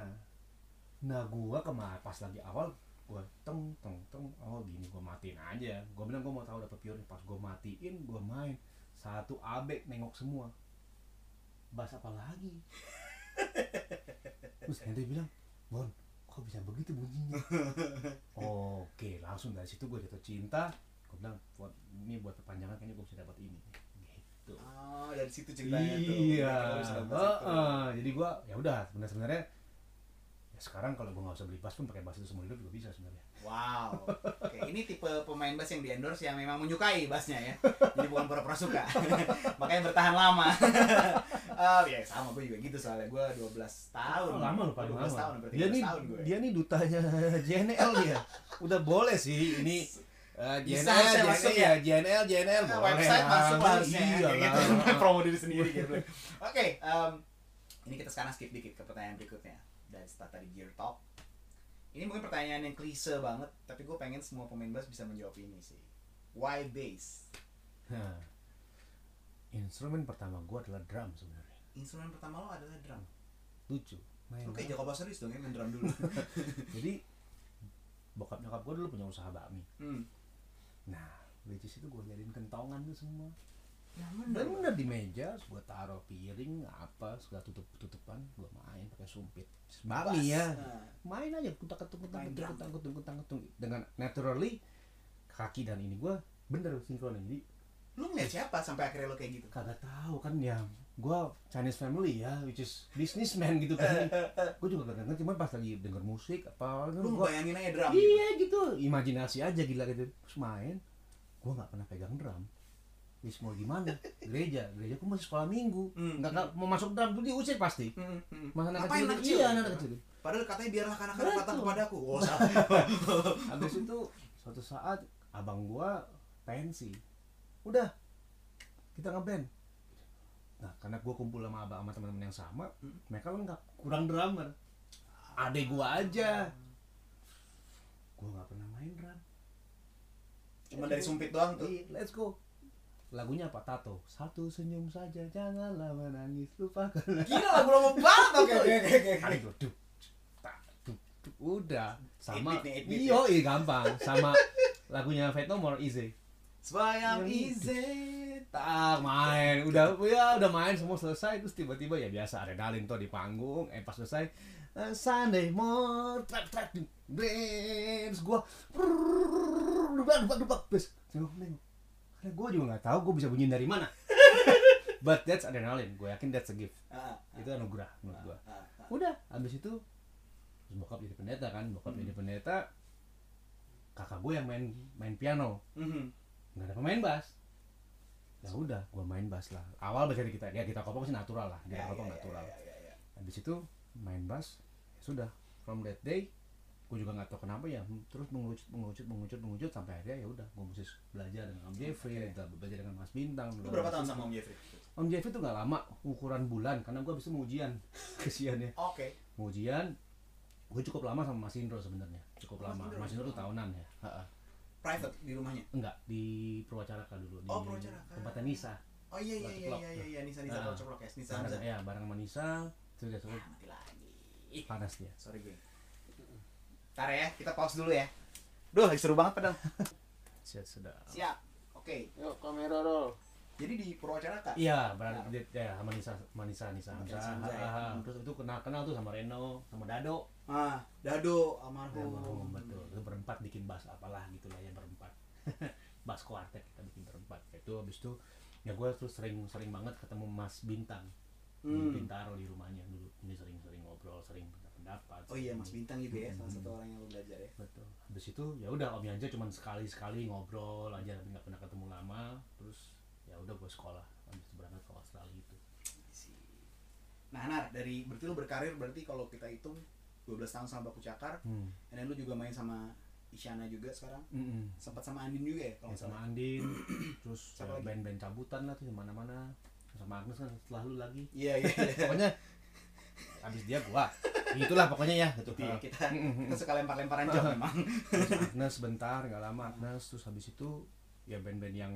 B: Nah, gua kemarin pas lagi awal gua teng teng teng oh gini gua matiin aja. Gua bilang gua mau tahu dapat pure pas gua matiin gua main satu abek nengok semua. Bass apa lagi? Terus Henry bilang, "Bon, kok bisa begitu bunyinya?" Oke, langsung dari situ gua jatuh cinta. Gua bilang, "Buat ini buat perpanjangan kayaknya gua bisa dapat ini." Gitu
A: Oh, dari situ ceritanya tuh.
B: iya
A: Kenapa bisa dapat situ.
B: Heeh. jadi gua ya udah sebenarnya sebenarnya ya sekarang kalau gua nggak usah beli bass pun pakai bass itu semua hidup juga bisa sebenarnya
A: Wow. Oke, ini tipe pemain bass yang di endorse yang memang menyukai bassnya ya. Jadi bukan pura-pura suka. Makanya bertahan lama. Oh, ya sama gue juga gitu soalnya gue 12 tahun.
B: Oh, lama lu
A: 12
B: paling lama
A: tahun, berarti
B: dia
A: 12
B: nih
A: tahun gue.
B: dia nih dutanya JNL dia udah boleh sih ini eh,
A: Bisa
B: JNL,
A: harusnya
B: JNL,
A: masuk ya?
B: ya JNL, JNL,
A: Nah,
B: boleh
A: website
B: lah.
A: masuk lah harusnya
B: Iya
A: kayak gitu.
B: lah.
A: promo diri sendiri gitu oke em, ini kita sekarang skip dikit ke pertanyaan berikutnya dari start dari gear talk ini mungkin pertanyaan yang klise banget tapi gue pengen semua pemain bass bisa menjawab ini sih why bass
B: Nah, instrumen pertama gua adalah drum sebenarnya
A: instrumen pertama lo adalah drum
B: lucu main
A: oke
B: drum.
A: Jacob Jacoba serius dong ya main drum dulu
B: jadi bokap nyokap gue dulu punya usaha bakmi
A: Hmm.
B: nah which is itu gue nyariin kentongan tuh semua
A: Ya
B: bener di meja terus gue taruh piring apa segala tutup tutupan gue main pakai sumpit bakmi ya
A: Nah,
B: main aja kutak ketung kutak
A: Main drum.
B: ketung kutak ketung kutak ketung dengan naturally kaki dan ini gue bener sinkron jadi
A: Lu ngeliat siapa sampai akhirnya lo kayak gitu?
B: kagak tahu kan ya gue Chinese family ya which is businessman gitu kan gue juga kagak ngerti cuman pas lagi denger musik apa kan
A: Lu
B: gua-
A: bayangin aja drum gitu.
B: iya gitu imajinasi aja gila gitu terus main gue nggak pernah pegang drum Wis mau gimana gereja gereja gue masih sekolah minggu
A: Hmm.
B: nggak nggak- mau masuk drum tuh diusir pasti
A: Hmm, hmm.
B: masa anak
A: Ngapain
B: kecil,
A: anak
B: gitu.
A: kecil?
B: iya anak kecil
A: Padahal katanya biarlah kanak-kanak
B: Betul.
A: patuh kepadaku. Oh, salah.
B: Habis itu suatu saat abang gua pensi. Udah. Kita ngeband. Nah, karena gua kumpul sama abang sama teman-teman yang sama,
A: Hmm.
B: mereka lengkap, kurang drummer. Adek gua aja.
A: Ah.
B: Gua nggak pernah main drum.
A: Cuma dari sumpit doang tuh.
B: Iya, let's go. Lagunya apa? Tato. Satu senyum saja, janganlah menangis, lupakan.
A: Gila lagu lama banget oke oke oke, oke.
B: Ada dua, duk, tak, duk, duk. udah sama
A: Eight beat nih, eight beat ya.
B: iyo iya gampang sama lagunya Fate No More Easy
A: Sebayang izin.
B: tak main udah ya udah main semua selesai terus tiba-tiba ya biasa adrenalin tuh di panggung eh pas selesai eh, Sunday more trap trap duk, dance gua prrrr, debak debak debak terus tengok nengok karena gua juga nggak tahu gua bisa bunyiin dari mana but that's adrenalin gua yakin that's a gift
A: Ah,
B: itu anugerah menurut gua
A: ah, ah.
B: udah habis itu terus bokap jadi pendeta kan bokap jadi pendeta kakak gue yang main main piano
A: Mhm.
B: nggak ada pemain bass ya udah gue main bass lah awal bass dari kita ya kita kopong sih natural lah kita
A: Ya,
B: kopong
A: ya, ya,
B: natural
A: ya, ya, ya.
B: habis itu main bass ya sudah from that day gue juga nggak tahu kenapa ya hmm, terus mengerucut mengerucut mengerucut mengerucut sampai akhirnya ya udah gue mesti belajar dengan Om Jeffrey belajar dengan Mas Bintang
A: Lu berapa tahun sama Om Jeffrey?
B: Om Jeffrey tuh nggak lama ukuran bulan karena gue habis itu mau ujian kesian ya
A: Oke.
B: mau ujian gue cukup lama sama Mas Indro sebenarnya
A: Mas
B: cukup lama
A: Indro?
B: Mas Indro tuh tahunan ya Ha-ha.
A: Private di rumahnya.
B: enggak di Purwacaraka dulu di
A: Oh, Purwacaraka.
B: tempatnya Nisa
A: Oh iya iya
B: Lah,
A: iya
B: ceplok.
A: iya iya iya Nisa Nisa
B: Ah.
A: kalau ceplok ya, Nisa Hamzah.
B: bareng, ya bareng sama Nisa terus dia suruh
A: Ah, mati lagi.
B: panas dia
A: Sorry geng. Ntar ya, kita pause dulu ya. Duh, lagi seru banget padahal.
B: Siap, sudah
A: Siap. Oke.
C: Yuk, kamera roll.
A: Jadi di Purwacaraka.
B: iya bareng dia ya sama Nisa sama Nisa Nisa
A: Sama
B: Hamzah.
A: Nisa Hamzah, ya.
B: Ha-ha. terus itu kenal kenal tuh sama Reno sama Dado
A: Ah, Dado
B: sama Romo,
A: almarhum.
B: betul itu berempat bikin bass apalah gitulah ya berempat bass quartet kita bikin berempat itu habis itu ya gue tuh sering sering banget ketemu Mas Bintang
A: Hmm.
B: di Bintaro di rumahnya dulu ini sering-sering ngobrol sering minta pendapat
A: Oh iya, Mas
B: sering-
A: Bintang juga ya, salah satu orang yang lu belajar ya.
B: betul habis itu ya udah om aja cuman sekali-sekali ngobrol aja tapi nggak pernah ketemu lama terus ya udah gue sekolah habis itu berangkat ke Australia gitu. itu
A: Si- Nah, Nar, dari berarti lu berkarir berarti kalau kita hitung 12 tahun sama Baku Cakar,
B: hmm.
A: dan lu juga main sama Isyana juga sekarang.
B: Mm-mm.
A: Sempat sama Andin juga ya kalau
B: Ya,
A: nggak salah.
B: sama Andin terus
A: Siapa
B: ya,
A: lagi?
B: band-band cabutan lah tuh di mana-mana sama Agnes kan setelah lu lagi
A: Iya, iya. iya.
B: pokoknya habis dia gua itulah pokoknya ya gitu
A: Iya, kita kita suka lempar-lemparan jam memang.
B: Terus Agnes bentar nggak lama Agnes terus habis itu ya band-band yang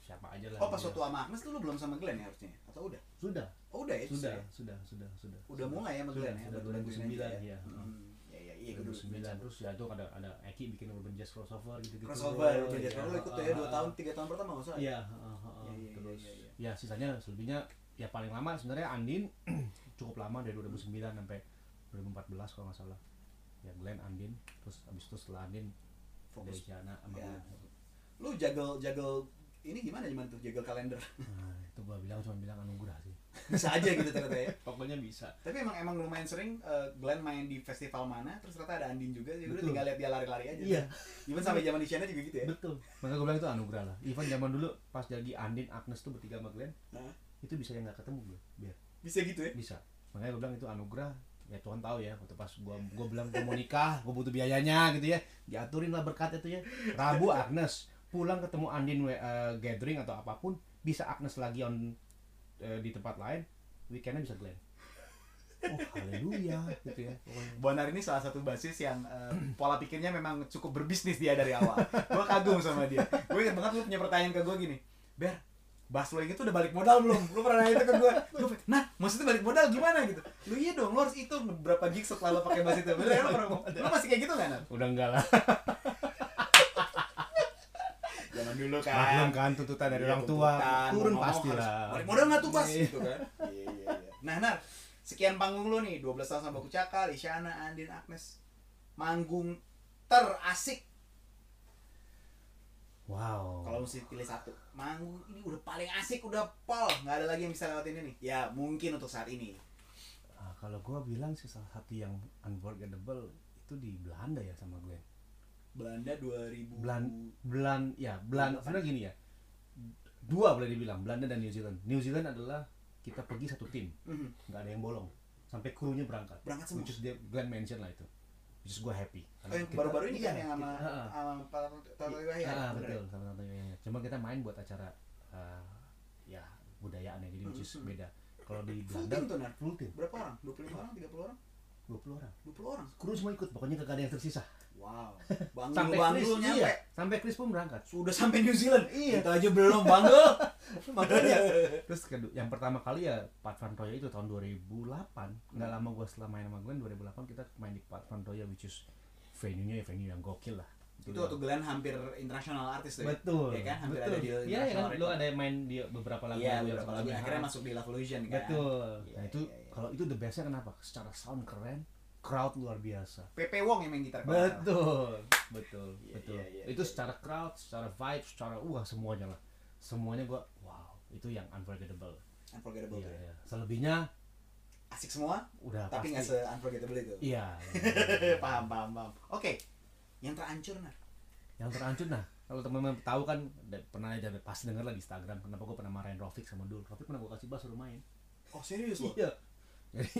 B: siapa aja lah
A: Oh, pas
B: Dia-
A: waktu sama Agnes tuh lu belum sama Glenn ya harusnya? Atau udah?
B: sudah
A: Oh, udah ya? justru
B: sudah
A: ya?
B: sudah sudah sudah
A: Udah mulai ya sama
B: Sudah,
A: Glenn ya?
B: sudah
A: Bantu-bantuin
B: 2009
A: aja
B: ya.
A: Hmm. Iya, iya, iya. gua dulu
B: 2009 terus ya itu ada ada Eki bikin urban jazz crossover gitu gitu
A: Crossover, udah jadi lu ikut tuh ya 2 tahun, 3 tahun pertama nggak salah ya?
B: Ah, iya heeh, heeh.
A: Iya, iya,
B: terus
A: iya, iya,
B: ya sisanya selebihnya ya paling lama sebenarnya Andin cukup lama dari 2009 sampai 2014 kalau nggak salah ya Glenn Andin terus abis itu setelah Andin
A: Fokus.
B: dari Jana sama
A: Ya.
B: Glenn.
A: Lu jagel jagel ini gimana zaman tuh jagel kalender?
B: Nah, itu gua bilang cuma bilang anugerah sih
A: Bisa aja gitu ternyata ya.
B: pokoknya bisa
A: Tapi emang emang lumayan sering eh, Glenn main di festival mana, terus ternyata ada Andin juga, jadi udah
B: Betul.
A: tinggal lihat dia lari-lari aja.
B: Iya.
A: Even sampai zaman Isyana juga gitu ya.
B: betul maka gue bilang itu anugerah lah even zaman dulu pas jadi Andin Agnes tuh bertiga sama Glenn
A: Hah?
B: itu bisa yang nggak ketemu gue biar
A: Nah, Bisa gitu ya.
B: bisa makanya gue bilang itu anugerah ya Tuhan tahu ya waktu pas gue gua bilang gue mau nikah gue butuh biayanya gitu ya diaturin lah berkat itu ya Rabu Agnes pulang ketemu Andin we- eh, gathering atau apapun bisa Agnes lagi on eh, di tempat lain weekendnya bisa Glenn oh haleluya gitu ya Pokoknya
A: Bonar ini salah satu basis yang eh, pola pikirnya memang cukup berbisnis dia dari awal. gue kagum sama dia. Gue ingat banget lu punya pertanyaan ke gue gini, Ber, Bas lo yang itu udah balik modal belum? Lu pernah nanya itu ke gue? Gue, nah maksudnya balik modal gimana gitu? Lu iya dong, lu harus hitung berapa gig setelah lo pakai bass itu. Bener, ya, lu, pernah, lu masih kayak gitu kan?
B: Udah enggak lah.
C: Zaman dulu kan.
B: Maklum kan tuntutan dari
C: Iya,
B: orang tua.
C: tuntutan,
B: Turun
C: mau-mau
B: pasti
C: harus
B: lah.
A: Balik modal nggak tuh Bas?
C: Gitu kan. Iya iya iya.
A: Nah, Nar, sekian panggung lu nih, 12 tahun sama Baku Cakal, Isyana, Andin, Agnes. Manggung terasik
B: Wow.
A: kalau mesti pilih satu. Manggung ini udah paling asik, udah pol, nggak ada lagi yang bisa lewatin ini. Ya, mungkin untuk saat ini.
B: Ah, kalau gua bilang sih salah satu yang unforgettable itu di Belanda ya sama gue.
A: Belanda 2000.
B: Belan Belan ya Belan sebenarnya gini ya. Dua boleh dibilang Belanda dan New Zealand. New Zealand adalah kita pergi satu tim,
A: Mhm.
B: nggak ada yang bolong sampai krunya berangkat.
A: Berangkat semua.
B: Which is dia Glenn mention lah itu. Which is gue happy.
A: Oh, yang
B: Kita-
A: baru-baru ini kan
B: iya,
A: yang sama
B: kita- ah, ah.
A: sama Pak Toto Wahyu ya.
B: Ah,
A: bener ya?
B: betul sama Tanto Yoyo. Cuma kita main buat acara eh, ya budayaannya jadi which is
A: Mhm.
B: beda. Kalau di
A: Full
B: Belanda
A: team tuh, Nar.
B: full team,
A: Berapa orang? 25 orang, 30 orang,
B: 20 orang.
A: 20 orang.
B: Kru semua ikut, pokoknya kagak ada yang tersisa.
A: Wow. Bang
B: Sampai Chris,
A: Bangul nyampe.
B: iya, sampai Chris pun berangkat.
A: Sudah sampai New Zealand.
B: Iya.
A: Kita aja belum, Bangul.
B: Makanya terus kedu- yang pertama kali ya Pat Van Roya itu tahun 2008. Nggak lama gua setelah main sama Glenn 2008 kita main di Pat Van Roya which is venue-nya ya venue yang gokil lah.
A: itu waktu Glenn hampir internasional artis tuh ya?
B: betul.
A: ya kan hampir
B: betul.
A: ada di
B: Iya, ya kan
A: international
B: lu
A: record.
B: ada main di beberapa lagu
A: iya
B: yang
A: beberapa lagu
B: sebelumnya.
A: akhirnya masuk di Love Illusion kan
B: Betul.
A: Iya,
B: nah itu
A: iya, iya.
B: kalau itu the bestnya kenapa? Secara sound keren, crowd luar biasa.
A: PP Wong yang main gitar kalau nggak salah.
B: Betul, betul,
C: Iya,
B: betul.
C: iya, iya,
B: itu
C: iya.
B: secara crowd, secara vibe, secara wah semuanya lah. Semuanya gua wow, itu yang unforgettable.
A: unforgettable
B: Iya,
A: tuh ya.
B: iya. Selebihnya
A: asik semua
B: udah
A: tapi nggak se
B: pasti.
A: unforgettable itu
B: Iya.
A: paham paham paham oke yang terancur nah
B: yang terancur nah kalau teman-teman tahu kan da- pernah aja pasti denger lah di Instagram kenapa gua pernah marahin Rofik sama Dul. Rofik pernah gua kasih bass suruh main.
A: oh serius loh
B: Iya. Jadi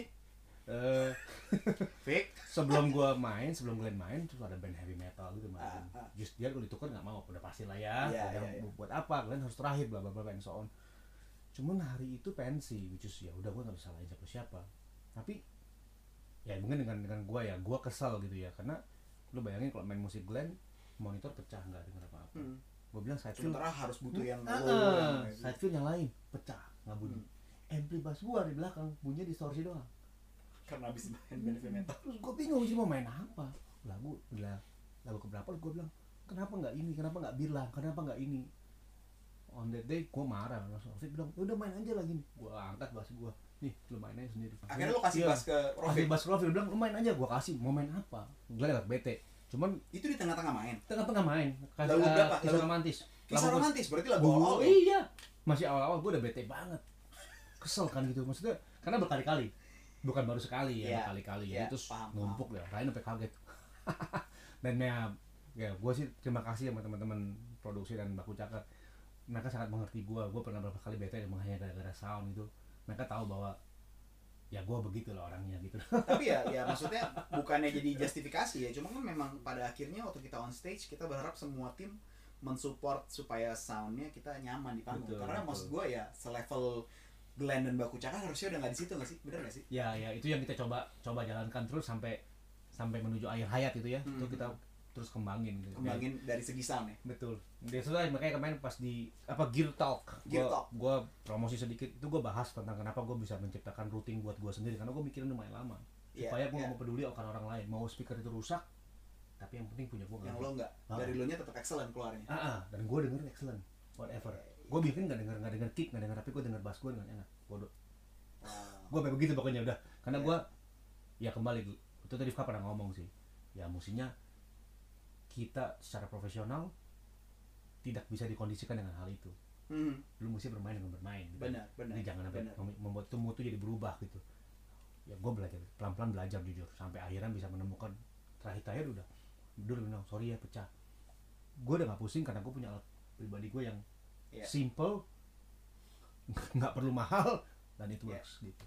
B: eh
A: Fik
B: sebelum gua main sebelum Glenn main terus ada band heavy metal gitu main
A: Ah, ah.
B: just dia kalau ditukar nggak mau udah pasti lah ya
A: Iya,
B: Udah,
A: iya, iya.
B: bu- buat apa Glenn harus terakhir bla bla bla and so on cuman hari itu pensi which is ya udah gua nggak bisa lajak ke siapa tapi ya mungkin dengan dengan gua ya gua kesal gitu ya karena lu bayangin kalau main musik Glenn monitor pecah nggak denger apa apa
A: Hmm.
B: gua bilang side field
A: sementara harus butuh yang gitu. Hmm.
B: Ah,
A: low yang
B: ah, side field yang lain pecah nggak bunyi ampli bass gua di belakang bunyinya distorsi doang
A: karena habis main band heavy metal
B: terus gue bingung sih mau main apa lagu lah lagu keberapa gue bilang kenapa nggak ini kenapa nggak bilang kenapa nggak ini on that day gue marah langsung Rafiq bilang "Ya udah main aja lagi nih gue angkat bass gue nih lu main aja sendiri
A: akhirnya lo kasih
B: Iya.
A: bass ke
B: kasih
A: Rofi
B: bass ke Rafiq bilang lu main aja gue kasih mau main apa gue liat bete cuman
A: itu di tengah-tengah main
B: tengah-tengah main
A: Lagu
B: kasih eh,
A: berapa?
B: kisah
A: Lagu-
B: romantis
A: kisah
B: Lagu-
A: romantis berarti lagu
B: Gua-
A: all ya?
B: iya masih awal-awal gue udah bete banget kesel kan gitu maksudnya karena berkali-kali bukan baru
A: Iya.
B: sekali ya berkali-kali
A: Iya,
B: ya terus
A: paham,
B: numpuk ya Ryan sampai kaget dan ya ya gue sih terima kasih sama teman-teman produksi dan baku cakar mereka sangat mengerti gue gue pernah berapa kali bete emang hanya gara-gara sound gitu mereka tahu bahwa ya gue begitu lah orangnya gitu
A: tapi ya ya maksudnya bukannya jadi justifikasi ya cuma kan memang pada akhirnya waktu kita on stage kita berharap semua tim mensupport supaya soundnya kita nyaman di panggung
B: Betul,
A: karena
B: betul.
A: maksud gue ya selevel Glenn dan Baku Caka harusnya udah nggak di situ nggak sih bener nggak sih
B: ya ya itu yang kita coba coba jalankan terus sampai sampai menuju akhir hayat gitu ya itu
A: Mhm.
B: kita terus kembangin gitu. Biar-
A: kembangin dari segi sound ya
B: Betul. Dia sudah makanya kemarin pas di apa Gear Talk.
A: Gear
B: gua,
A: Talk.
B: Gua promosi sedikit itu gua bahas tentang kenapa gua bisa menciptakan rutin buat gua sendiri karena gua mikirin lumayan lama.
A: Iya,
B: Supaya gua
A: iya.
B: nggak mau peduli akan orang lain. Mau speaker itu rusak tapi yang penting punya gua.
A: yang
B: nggak
A: lo nggak
B: Ah.
A: dari lo nya tetap excellent keluarnya
B: Ah, ah. dan gua dengerin excellent whatever. Gua bikin nggak denger nggak denger kick nggak denger tapi gua denger bass gua dengan enak. Bodoh.
A: Wow.
B: Gua kayak begitu pokoknya udah. Karena
A: Iya.
B: gua ya kembali itu tadi Fka pernah ngomong sih. Ya mestinya kita secara profesional tidak bisa dikondisikan dengan hal itu
A: Hmm,
B: lu mesti bermain dengan bermain gitu.
A: Benar, benar,
B: jadi jangan sampai
A: benar.
B: mem- membuat itu mutu jadi berubah gitu ya gue belajar pelan-pelan belajar jujur sampai akhirnya bisa menemukan terakhir-terakhir udah dulu bilang sorry ya pecah gue udah gak pusing karena gue punya alat pribadi gue yang
A: Iya.
B: simple nggak perlu mahal dan it
A: Iya.
B: works gitu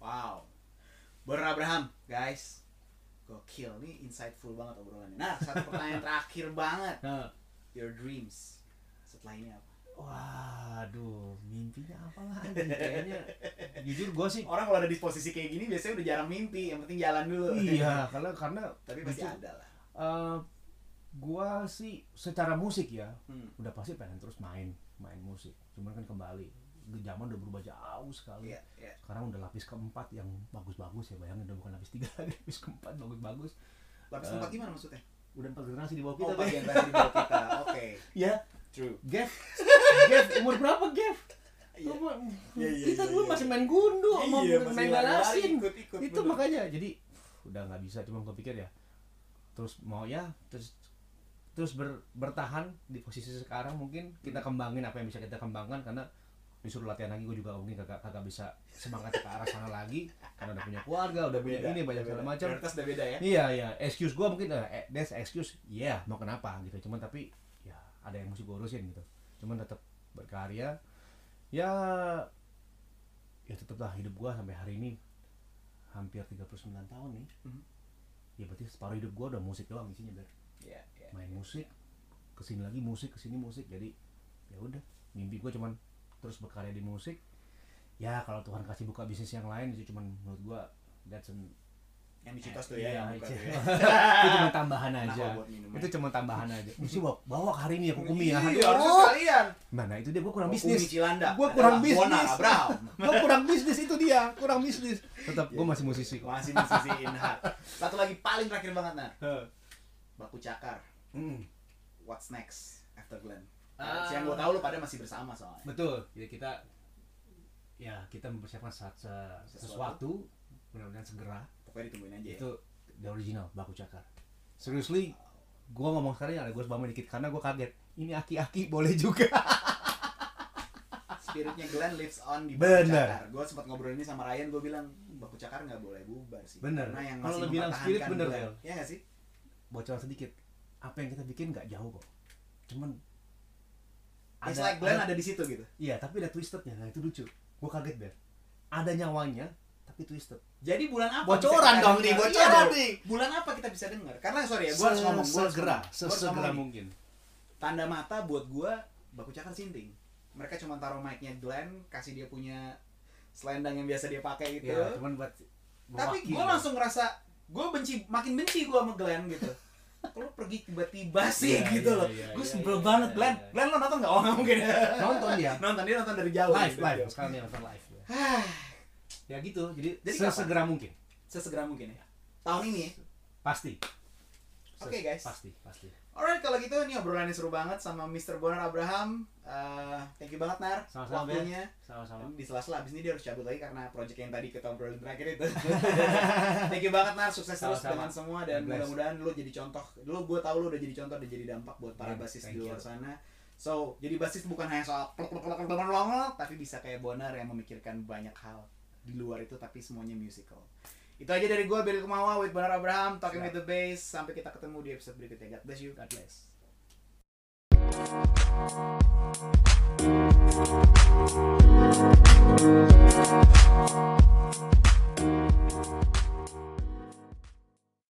A: wow Born Abraham guys gokil nih insightful banget obrolannya nah satu pertanyaan terakhir banget
B: nah
A: your dreams setelah ini apa
B: waduh mimpinya apa lagi kayaknya jujur gue sih
A: orang kalau ada di posisi kayak gini biasanya udah jarang mimpi yang penting jalan dulu
B: iya Oh, karena karena
A: tapi pasti
B: jujur,
A: ada lah
B: eh gua sih secara musik ya
A: Hmm.
B: udah pasti pengen terus main main musik cuman kan kembali di zaman udah berubah jauh sekali
A: Iya, iya.
B: sekarang udah lapis keempat yang bagus-bagus ya bayangin udah bukan lapis tiga lagi lapis keempat bagus-bagus
A: Lapis
B: Eh,
A: keempat gimana maksudnya?
B: udah empat generasi di bawah
A: Oh,
B: kita deh.
C: iya.
A: bagian terakhir dari kita. Oke.
B: ya
C: True.
B: Gev Gev umur berapa Gev
A: Iya.
B: Umur-
C: Iya, iya,
B: kita
C: iya,
B: dulu
C: iya.
B: masih main gundu sama
C: Iya, masih
B: main
C: lari-lari,
B: balasin
C: ikut-ikut,
B: itu
C: bener.
B: makanya jadi uff, udah nggak bisa cuma gue pikir ya terus mau ya terus terus ber- bertahan di posisi sekarang mungkin kita kembangin apa yang bisa kita kembangkan karena disuruh latihan lagi gue juga mungkin kagak kagak bisa semangat ke arah sana lagi karena udah punya keluarga udah punya
A: Beda,
B: ini banyak
A: beda.
B: segala macam
A: Prioritas udah beda ya.
B: Iya iya, excuse gua mungkin eh, eh, that's excuse. Iya, mau kenapa gitu. Cuman tapi ya ada yang mesti gua urusin gitu. Cuman tetap berkarya. Ya ya tetaplah hidup gua sampai hari ini hampir 39 tahun nih.
A: Mhm.
B: Ya berarti separuh hidup gua udah musik doang isinya Ber.
A: Iya, iya.
B: Main musik, kesini lagi musik, kesini musik. Jadi ya udah, mimpi gua cuman terus berkarya di musik. Ya kalau Tuhan kasih buka bisnis yang lain itu cuman menurut gua that's an
A: Yang dicitos tuh ya, yang buka tuh ya.
B: Iya, itu cuma tambahan
A: Nah,
B: aja.
A: buat minuman.
B: itu cuma tambahan aja. Mesti bawa, bawa ke hari ini ya kukumi ya.
A: Iya, harusnya
B: Oh,
A: sekalian.
B: Mana itu dia gua kurang
A: Kukumi
B: bisnis.
A: Cilanda.
B: Gua kurang
A: Adalah Bona
B: bisnis.
A: Abraham.
B: Gua kurang bisnis itu dia, kurang bisnis. Tetap gua masih musisi kok.
A: Masih musisi Inhard. Satu lagi paling terakhir banget nah. Baku Cakar.
B: Mm,
A: What's next after Glenn?
B: Ah.
A: Yang gue tahu lu pada masih bersama soalnya.
B: Betul. Jadi kita ya kita mempersiapkan saat- se- sesuatu mudah-mudahan segera.
A: Pokoknya ditungguin aja ya.
B: Itu the original baku cakar. Seriously, gua ngomong sekarang ya ada gua sebama dikit karena gua kaget. Ini aki-aki boleh juga.
A: Spiritnya Glenn lives on di Baku
B: Bener.
A: Cakar. Gue sempat ngobrol ini sama Ryan, gue bilang Baku Cakar nggak boleh bubar sih.
B: Bener.
A: Karena yang
B: Kalau
A: masih
B: lu bilang spirit,
A: mempertahankan
B: bener,
A: Glenn.
B: Del.
A: Iya nggak sih?
B: bocoran sedikit apa yang kita bikin nggak jauh kok cuman
A: It's like Glenn ada di situ gitu.
B: iya tapi ada twistednya nah itu lucu gua kaget ber ada nyawanya tapi twisted
A: Jadi bulan apa? bisa kita
B: Bocoran dong
A: dengar?
B: nih, bocoran
A: Iya
B: nih.
A: Bulan apa kita bisa dengar? Karena sorry ya, gue harus
B: Se-
A: ngomong. gua harus
B: segera
A: ngomong. Gua harus
B: sesegera
A: ngomong nih.
B: mungkin
A: Tanda mata buat gue, baku cakar sinting. Mereka cuma taruh mic-nya Glenn, kasih dia punya selendang yang biasa dia pakai gitu.
B: ya cuman buat
A: Tapi
B: mewakili.
A: gue langsung ngerasa, gue benci, makin benci gue sama Glenn gitu. Kalau pergi tiba-tiba sih
B: Iya,
A: gitu
B: iya,
A: loh.
B: iya,
A: gue
B: iya,
A: sebel
B: iya,
A: banget
B: iya,
A: Glenn.
B: iya.
A: Glenn lo nonton nggak? Oh nggak mungkin.
B: nonton dia
A: nonton dia nonton dari jauh.
B: live
A: gitu.
B: live sekarang dia nonton live ya.
A: Hah,
B: ya gitu jadi,
A: Jadi
B: sesegera mungkin
A: Sesegera mungkin ya. Tahun ini ya.
B: pasti
A: Oke, guys.
B: pasti pasti
A: Alright, kalau gitu ini obrolannya seru banget sama Mr. Bonar Abraham. Eh, thank you banget Nar
B: Sama-sama, Ben.
A: waktunya.
B: sama-sama
A: Di sela-sela abis ini dia harus cabut lagi karena project yang tadi kita obrolin terakhir itu. thank you banget Nar, sukses terus
B: Sama-sama.
A: dengan semua dan
B: God bless.
A: mudah-mudahan lu jadi contoh. Lu gue tahu lu udah jadi contoh, udah jadi dampak buat para
B: Ben,
A: basis
B: thank
A: di luar
B: you.
A: sana. So, jadi basis bukan hanya soal plek, plek, plek, plek, plek, plek, plek, tapi bisa kayak Bonar yang memikirkan banyak hal di luar itu tapi semuanya musical. Itu aja dari gue, Billy Kumawa, with Bonar Abraham, Talking
B: Siap.
A: with the Bass. Sampai kita ketemu di episode berikutnya. God bless you.
B: God bless